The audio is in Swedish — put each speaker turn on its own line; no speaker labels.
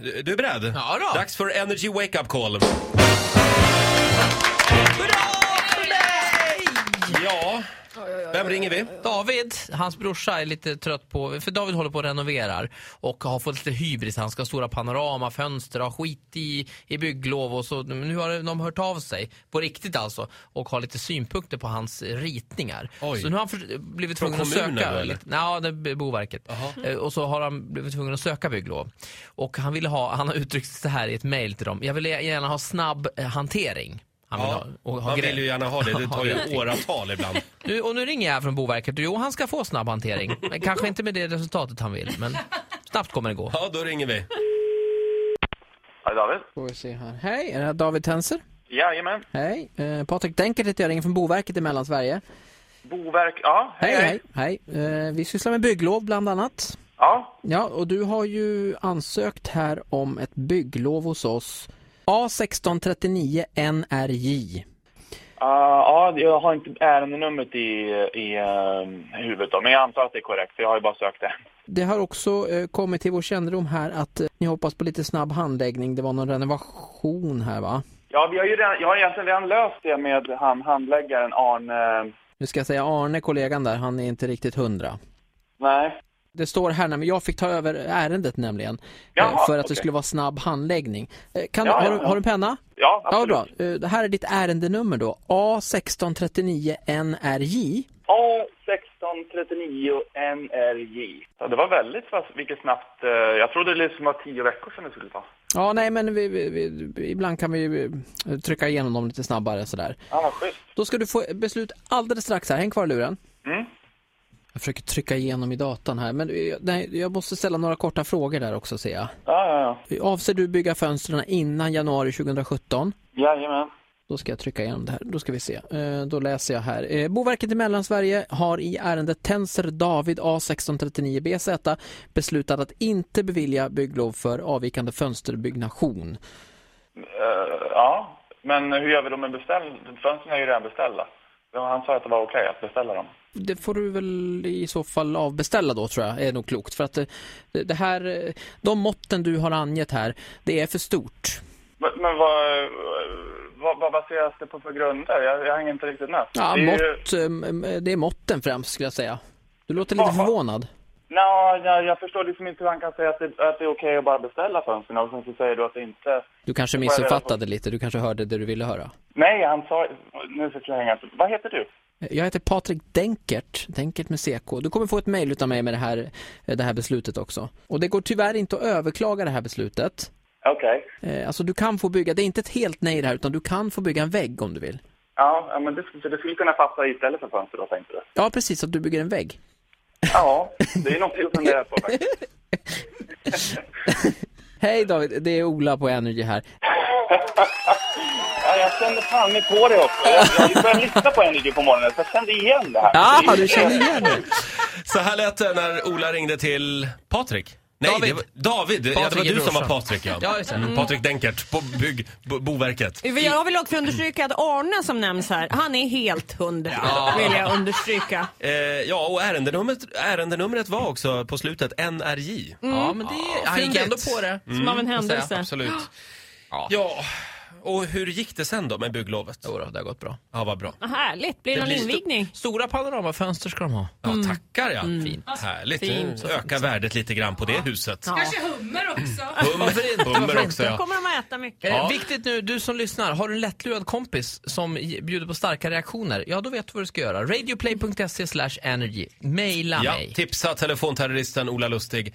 Du är beredd?
Ja då.
Dags för Energy Wake Up Call. Ja, vem ringer vi?
David, hans brorsa, är lite trött på... För David håller på och renoverar och har fått lite hybris. Han ska ha stora panoramafönster, har skit i, i bygglov och så. Men Nu har de hört av sig, på riktigt alltså, och har lite synpunkter på hans ritningar.
Oj.
Så nu har han för, blivit
Från
tvungen att
kommunen
söka...
då, eller?
lite- Ja, det är Boverket. Eh, Och så har han blivit tvungen att söka bygglov. Och han, ville ha, han har uttryckt sig så här i ett mejl till dem. Jag vill gärna ha snabb eh, hantering. Han vill
Ja,
ha, och ha
man vill
grej.
ju gärna ha det. Det
Ha
tar ju
gräddning.
åratal ibland.
Nu, och nu ringer jag här från Boverket och jo, han ska få snabb hantering. Men kanske inte med det resultatet han vill, men snabbt kommer det gå.
Ja, då ringer vi.
Ja, David?
Får vi se här. Hej, är det här David Tenser?
Jajamän.
Hej. Eh, Patrik Denkert heter jag, ringer från Boverket i Mellansverige.
Boverk, ja. Hej, hej.
hej. hej. Eh, vi sysslar med bygglov bland annat.
Ja,
Ja, och du har ju ansökt här om ett bygglov hos oss. A1639 NRJ.
Ah, ja, jag har inte ärendenumret i, i eh, huvudet då, men jag antar att det är korrekt, för jag har ju bara sökt det.
Det har också eh, kommit till vår kännedom här att eh, ni hoppas på lite snabb handläggning. Det var någon renovation här va?
Ja, vi har ju redan, jag har egentligen redan löst det med han handläggaren Arne...
Nu ska jag säga Arne, kollegan där, han är inte riktigt hundra.
Nej.
Det står här, nämligen- jag fick ta över ärendet nämligen.
Jaha,
eh, för att det
okej.
skulle vara snabb handläggning. Eh, Kan,
Ja,
har,
ja,
du,
ja.
har du en penna?
Ja, absolut.
Ja, bra. Eh, Det här är ditt ärendenummer då. A1639NRJ.
A1639 NRJ. Ja, det var väldigt fast, vilket snabbt... eh, jag trodde det liksom var tio veckor sedan det skulle ta.
Ja, nej, men vi, vi, vi, ibland kan vi ju, eh, trycka igenom dem lite snabbare sådär.
Ja, vad Ah, schysst.
Då ska du få beslut alldeles strax här. Häng kvar i luren.
Mm.
Jag försöker trycka igenom i datan här, men eh, nej, jag måste ställa några korta frågor där också ser jag.
Ja, ja, ja.
Avser du bygga fönstren innan januari 2017?
Jajamän.
Då ska jag trycka igenom det här. Då ska vi se. Eh, Då läser jag här. Eh, Boverket i Mellansverige har i ärendet Tenser David A1639BZ beslutat att inte bevilja bygglov för avvikande fönsterbyggnation.
Eh, ja, men hur gör vi då med beställ... Fönstren är ju redan beställda. Han sa att det var okej att beställa dem.
Det får du väl i så fall avbeställa då tror jag, är nog klokt. För att det, det här, eh, de måtten du har angett här, det är för stort.
Men, men vad, vad, vad baseras det på för grunder? Jag, jag hänger inte riktigt med.
Ja,
det är ju-
mått, eh, det är måtten främst skulle jag säga. Du låter lite
Jaha.
förvånad.
Nå, jag, jag förstår liksom inte hur han kan säga att det, att det är okej att bara beställa fönstren och sen så säger du att det inte...
Du kanske
jag reda på-
missuppfattade lite, du kanske hörde det du ville höra.
Nej, han sa... Nu sitter jag hänga. Vad heter du?
Jag heter Patrik Denkert, Denkert med CK. Du kommer få ett mejl utav mig med det här, eh, det här beslutet också. Och det går tyvärr inte att överklaga det här beslutet.
Okej.
Eh, Alltså du kan få bygga, det är inte ett helt nej det här utan du kan få bygga en vägg om du vill.
Ja, ja, men det, skulle- det skulle kunna passa istället för fönster då, tänkte du?
Ja precis, att du bygger en vägg.
Ja, det är något jag funderar på faktiskt.
Hej David, det är Ola på Energy här.
Ja, jag kände fan mig på det också. Jag, jag började lyssna på Energy på morgonen, så jag kände igen det här.
Ja, Ah, du känner igen
Mm.
det.
Så här lät det när Ola ringde till Patrik. Nej,
David.
Det var, David. ja, det
Patrik
var
är
du som var
brorsan.
Patrik, ja.
Ja, just det.
Mm. Patrik Denkert på bygg, bo, Boverket.
Vi- Jag vill också understryka att Arne som nämns här, han är helt hund. Vill jag understryka.
Eh, ja, och ärendenumret, ärendenumret var också på slutet NRJ.
Ja, men det, han gick
fyndigt.
ändå på det.
Som av en händelse.
Mm. Absolut. Ja, och hur gick det sen då med bygglovet?
Jo då, det har gått bra.
Ja, vad bra.
Vad Härligt, blir
Det
det, någon
blir stor-
invigning?
Stora panoramafönster ska de ha.
Ja, tackar ja. Fint. Härligt.
Mm. Fint.
Nu Ökar värdet lite grann på det huset.
Ja.
Kanske hummer också.
Hummer, hummer också
Då
ja.
kommer de att äta mycket.
Eh, Viktigt nu, du som lyssnar, har du en lättlurad kompis som i- bjuder på starka reaktioner, ja då vet du vad du ska göra. Radioplay.se slash energy. Maila
ja.
mig.
Tipsa telefonterroristen Ola Lustig.